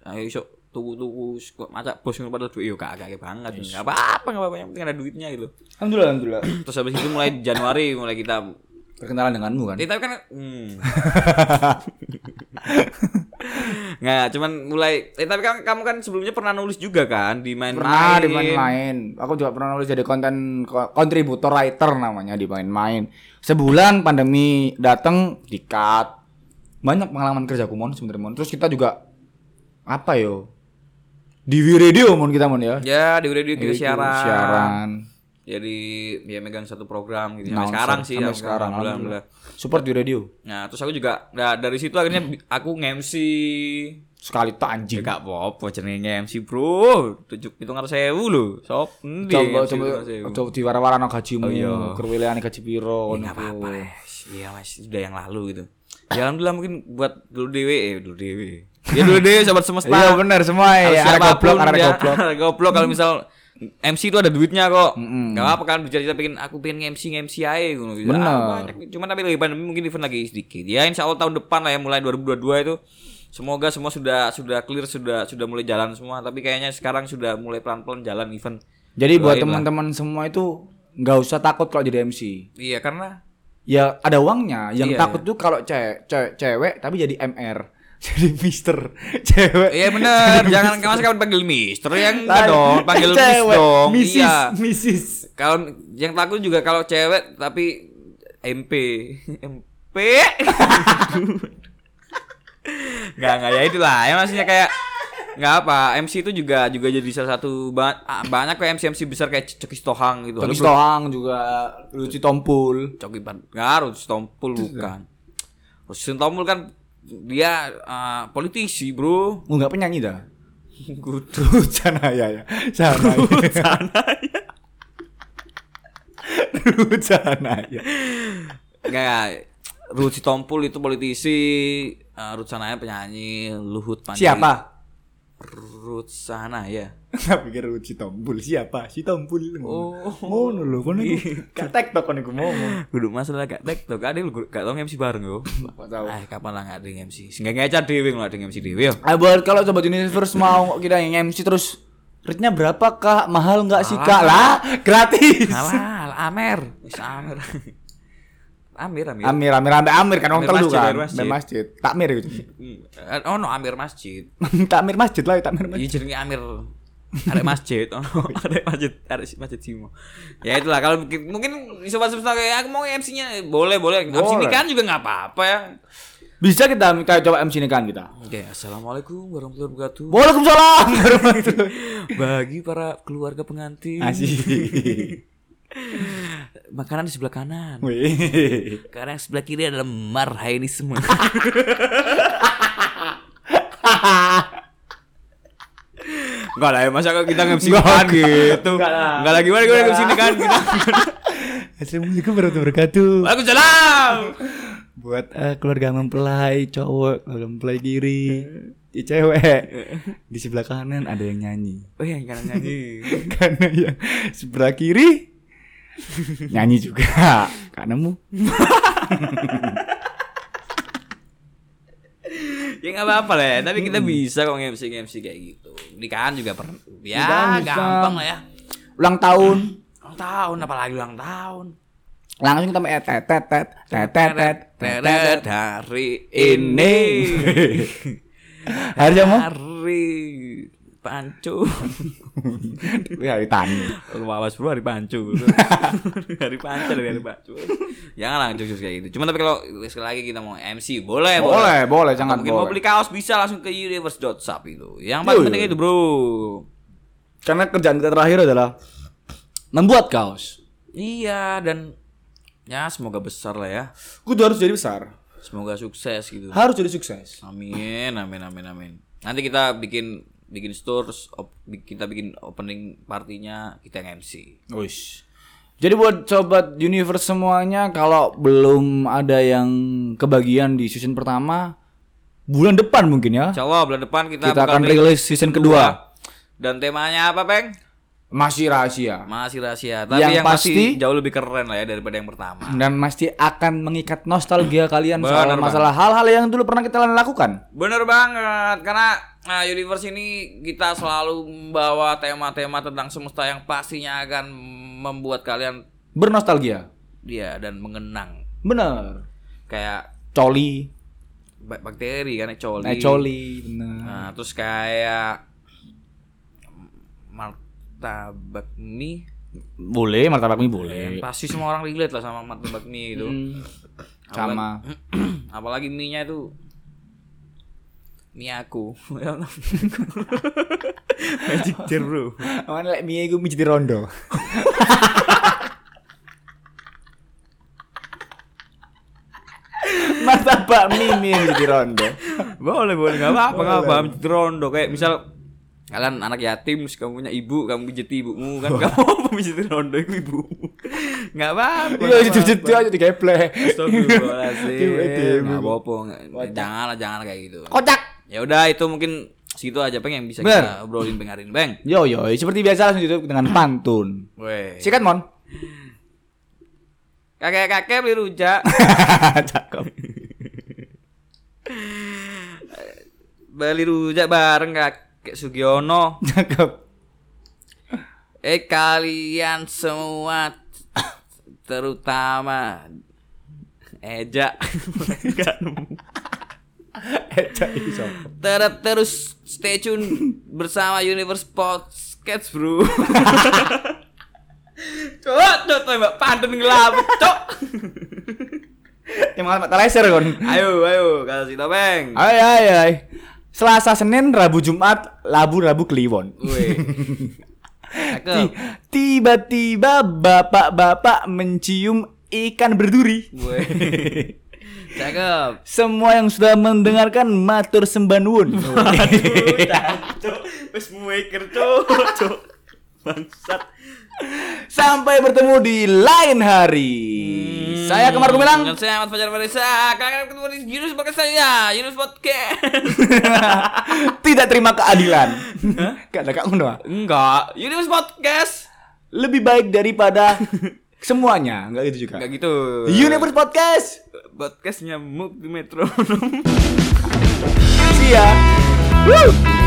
A: Ayo iso tuku-tuku sek- macak bos ngono padahal duit yo kagak banget. Enggak apa-apa, enggak apa-apa, yang penting ada duitnya gitu.
B: Alhamdulillah, alhamdulillah.
A: Terus habis itu mulai Januari mulai kita
B: Perkenalan denganmu kan?
A: Eh, tapi kan
B: <laughs>
A: hmm. Nggak, cuman mulai eh, tapi kan kamu kan sebelumnya pernah nulis juga kan di main-main.
B: Pernah di main-main. Aku juga pernah nulis jadi konten ko- kontributor writer namanya di main-main. Sebulan pandemi datang dikat. Banyak pengalaman kerjaku mon sebenarnya mon. Terus kita juga apa yo? Di Radio mon kita mon ya.
A: Ya, di radio kita
B: Iya, Itu,
A: siaran.
B: siaran.
A: jadi ya megang satu program gitu sampai sekarang sih
B: sampai
A: alhamdulillah,
B: sekarang
A: alhamdulillah.
B: alhamdulillah. Support di radio.
A: Nah, terus aku juga nah, dari situ akhirnya bi- aku nge-MC.
B: Sekali tak anjing.
A: Ya gak apa-apa jenenge nge-MC, Bro. Tujuk hitungan sewu lho. Sop endi?
B: Coba
A: MC
B: coba
A: hitungan sewu?
B: coba diwara-warano gajimu,
A: Oh, iya.
B: kerweleane gaji
A: Ya,
B: piro ngono
A: nggak
B: ku.
A: apa-apa Les. Iya mas, sudah yang lalu gitu. Ya alhamdulillah mungkin buat dulu dewe, eh, dulu dewe. Ya dulu dewe sobat semesta.
B: Iya bener semua
A: Harus
B: ya. Ada
A: siapapun
B: goblok, ada
A: ya.
B: goblok.
A: Ada <laughs> goblok kalau misal MC itu ada duitnya kok. Gak apa kan bicara kita pengen aku pengen MC MC aja gitu.
B: Bener.
A: Ah, banyak. Cuman tapi lagi pandemi mungkin event lagi sedikit. Ya insya Allah tahun depan lah ya mulai 2022 itu semoga semua sudah sudah clear sudah sudah mulai jalan semua. Tapi kayaknya sekarang sudah mulai pelan-pelan jalan event.
B: Jadi
A: Doain
B: buat
A: lah.
B: teman-teman semua itu nggak usah takut kalau jadi MC.
A: Iya karena
B: Ya ada uangnya.
A: Iya.
B: Yang takut tuh kalau ce- ce- cewek tapi jadi MR. <laughs> Jadi Mister cewek.
A: Iya bener,
B: <laughs>
A: jangan kamu kapan panggil mister yang enggak
B: Tadi-
A: dong, panggil miss
B: <laughs> cewek,
A: dong.
B: Mrs.
A: Iya.
B: Mrs.
A: Kalau yang takut juga kalau cewek tapi MP. MP. <laughs> Enggak enggak ya itulah. Ya maksudnya kayak enggak apa, MC itu juga juga jadi salah satu ba- ah, banyak kayak MC MC besar kayak Coki Stohang gitu.
B: Tapi Stoang juga lucu tompul.
A: Coki Bangar, Stompul bukan. Rustin Tompul kan dia ah, politisi, Bro.
B: Enggak penyanyi
A: <laughs>
B: dah.
A: Good.
B: Ruth Sanaya ya. Sanaya. Ruth
A: ya.
B: <laughs> Sanaya. Ruth Sanaya.
A: Enggak. Ruth Sitompul itu politisi, eh, Ruth Sanaya penyanyi, Luhut Panji.
B: Siapa?
A: Ruth Sanaya.
B: Nggak pikir Ruth si Tompul. Siapa? Si Tompul.
A: Oh.
B: Ngono lho kono iku. Gak tektok kono iku ngomong.
A: Kudu masalah gak tektok, ada lu gak tau MC bareng yo.
B: Gak tahu.
A: Ah, kapan lah gak ada MC. Sehingga ngecat dhewe lah ada MC dhewe yo.
B: Ah, buat kalau sobat universe mau kita yang MC terus rate-nya berapa kak? Mahal nggak sih kak? Lah, gratis.
A: Salah, Amer. Wis Amer. Amir, Amir.
B: <laughs> Amir, Amir, Amir, Amir kan orang
A: Amir
B: telu
A: masjid,
B: kan,
A: Amir masjid.
B: Amir masjid, takmir <laughs> gitu,
A: Eh, Oh no, Amir Masjid.
B: takmir masjid lah, takmir
A: Iya
B: masjid.
A: jenenge Amir. Arek masjid, oh,
B: <laughs>
A: arek masjid, arek masjid Simo. Ya itulah kalau mungkin- mungkin sobat semesta kayak aku mau MC-nya boleh boleh. MC ini
B: Boleh.
A: kan juga nggak apa-apa ya.
B: Bisa kita kita coba MC kan kita.
A: Oke, assalamualaikum warahmatullahi wabarakatuh.
B: Waalaikumsalam. warahmatullahi.
A: Bagi para keluarga pengantin,
B: <laughs> Asik. <laughs>
A: makanan di sebelah kanan.
B: Wih.
A: Karena yang sebelah kiri adalah marhainisme. Enggak lah ya, masa kita nge-MC kan gitu.
B: Nggak lah.
A: Enggak lah gimana gimana nge-MC kan kita.
B: Assalamualaikum warahmatullahi wabarakatuh.
A: Waalaikumsalam.
B: Buat eh, keluarga mempelai cowok, keluarga mempelai kiri, i cewek. Di sebelah kanan ada yang nyanyi.
A: Oh iya, yang kanan nyanyi.
B: <laughs> Karena yang sebelah kiri nyanyi juga. Kak nemu.
A: ya nggak apa-apa lah, ya, tapi kita bisa kok nge-MC nge-MC kayak gitu. Nikahan juga per
B: Nikahan
A: ya
B: Kan bisa.
A: gampang lah ya.
B: Ulang tahun.
A: Ulang tahun apalagi ulang tahun.
B: Langsung kita eh, tet tet tet tet tet tet tet
A: Teret
B: tet.
A: hari
B: <laughs> ini.
A: ini.
B: Hari <laughs> apa?
A: Hari Pancu.
B: Hari tani.
A: Wawas bro hari <laughs> Pancu. hari Pancu dari hari Pancu. Janganlah jokes kayak gitu. Cuma tapi kalau sekali lagi kita mau MC boleh
B: Boleh, boleh,
A: Atau
B: jangan
A: mungkin mau
B: boleh.
A: beli kaos bisa langsung ke universe.shop itu. Yang paling
B: Yoi.
A: penting itu, Bro.
B: Karena kerjaan kita terakhir adalah membuat kaos.
A: Iya dan ya semoga besar lah ya.
B: Kudu harus jadi besar.
A: Semoga sukses gitu.
B: Harus jadi sukses.
A: Amin, amin, amin, amin. Nanti kita bikin bikin store, terus op- bi- kita bikin opening partinya kita yang MC.
B: Wish. Jadi buat sobat universe semuanya kalau belum ada yang kebagian di season pertama bulan depan mungkin ya.
A: Insya Allah bulan depan kita,
B: Kita
A: bakal
B: akan
A: rilis ya.
B: rilis season kedua.
A: Dan temanya apa, Peng?
B: Masih rahasia.
A: Masih rahasia, tapi yang,
B: Yang
A: pasti
B: pasti-
A: jauh lebih keren lah ya daripada yang pertama.
B: Dan pasti akan mengikat
A: <clears throat>
B: nostalgia kalian soal
A: Benar, Bang.
B: masalah hal-hal yang dulu pernah kita lakukan.
A: Bener banget, karena nah, universe ini kita selalu membawa tema-tema tentang semesta yang pastinya akan membuat kalian
B: Bernostalgia.
A: dia dan mengenang
B: Bener.
A: kayak
B: Coli,
A: bak- bakteri kan coli.
B: eh coli, bener.
A: Nah, terus kayak martabak mie
B: Boleh, martabak mie boleh.
A: pasti semua orang relate lah sama martabak mie itu. <clears throat>
B: Hmm. Sama.
A: Apalagi mie-nya itu Miaku. <laughs> Magic jar bro.
B: Aman lek mie iku mijiti rondo. Martabak mie mie mijiti rondo.
A: Boleh boleh nggak apa-apa nggak apa mijit rondo kayak misal kalian anak yatim terus kamu punya ibu kamu pijit ibumu <laughs> kan kamu apa pijit rondo itu ibumu nggak apa-apa
B: Iya dijujut aja digeblek.
A: Astagfirullahaladzim
B: Ibu,
A: Gak
B: ibu.
A: apa-apa nggak- Jangan lah, jangan lah kayak gitu
B: Kocak.
A: Ya udah itu mungkin segitu aja Peng yang bisa
B: Bener.
A: kita obrolin Peng hari ini Peng
B: Yo yo, seperti biasa langsung ditutup dengan pantun.
A: Weh
B: Sikat mon. <laughs>
A: Kakek-kakek beli rujak
B: Cakep.
A: Beli rujak bareng kakek Sugiono
B: Cakep.
A: Eh kalian semua Terutama Eja Gak nemu.
B: Ejak iki sapa?
A: Ter- Terus stay tune bersama Universe Podcast bro Cok, cok, tembak pantun ngelabut, cok
B: Yang makan Pak Teleser kon.
A: Ayo, ayo, kasih topeng.
B: Ay ay ay. Selasa, Senin, Rabu, Jumat, Labu, Rabu, Kliwon.
A: Wih.
B: Ti-
A: Cakep.
B: Tiba-tiba bapak-bapak mencium ikan berduri.
A: Wih. Cakep.
B: Semua yang sudah mendengarkan matur sembah nuwun.
A: Cok, wis mueker cok, cok. Bangsat.
B: <laughs> Sampai bertemu di lain hari.
A: Hmm.
B: Saya Kemar Gumilang.
A: Dan saya Ahmad Fajar Marisa. Kalian ketemu di Yunus Podcast saya, Yunus Podcast.
B: <laughs> Tidak terima keadilan. Gak ada Kak Uno, ah.
A: Enggak, Yunus Podcast.
B: Lebih baik daripada semuanya. Enggak gitu juga.
A: Enggak gitu.
B: Universe Podcast.
A: Podcast nyamuk di metronom.
B: See ya. Woo.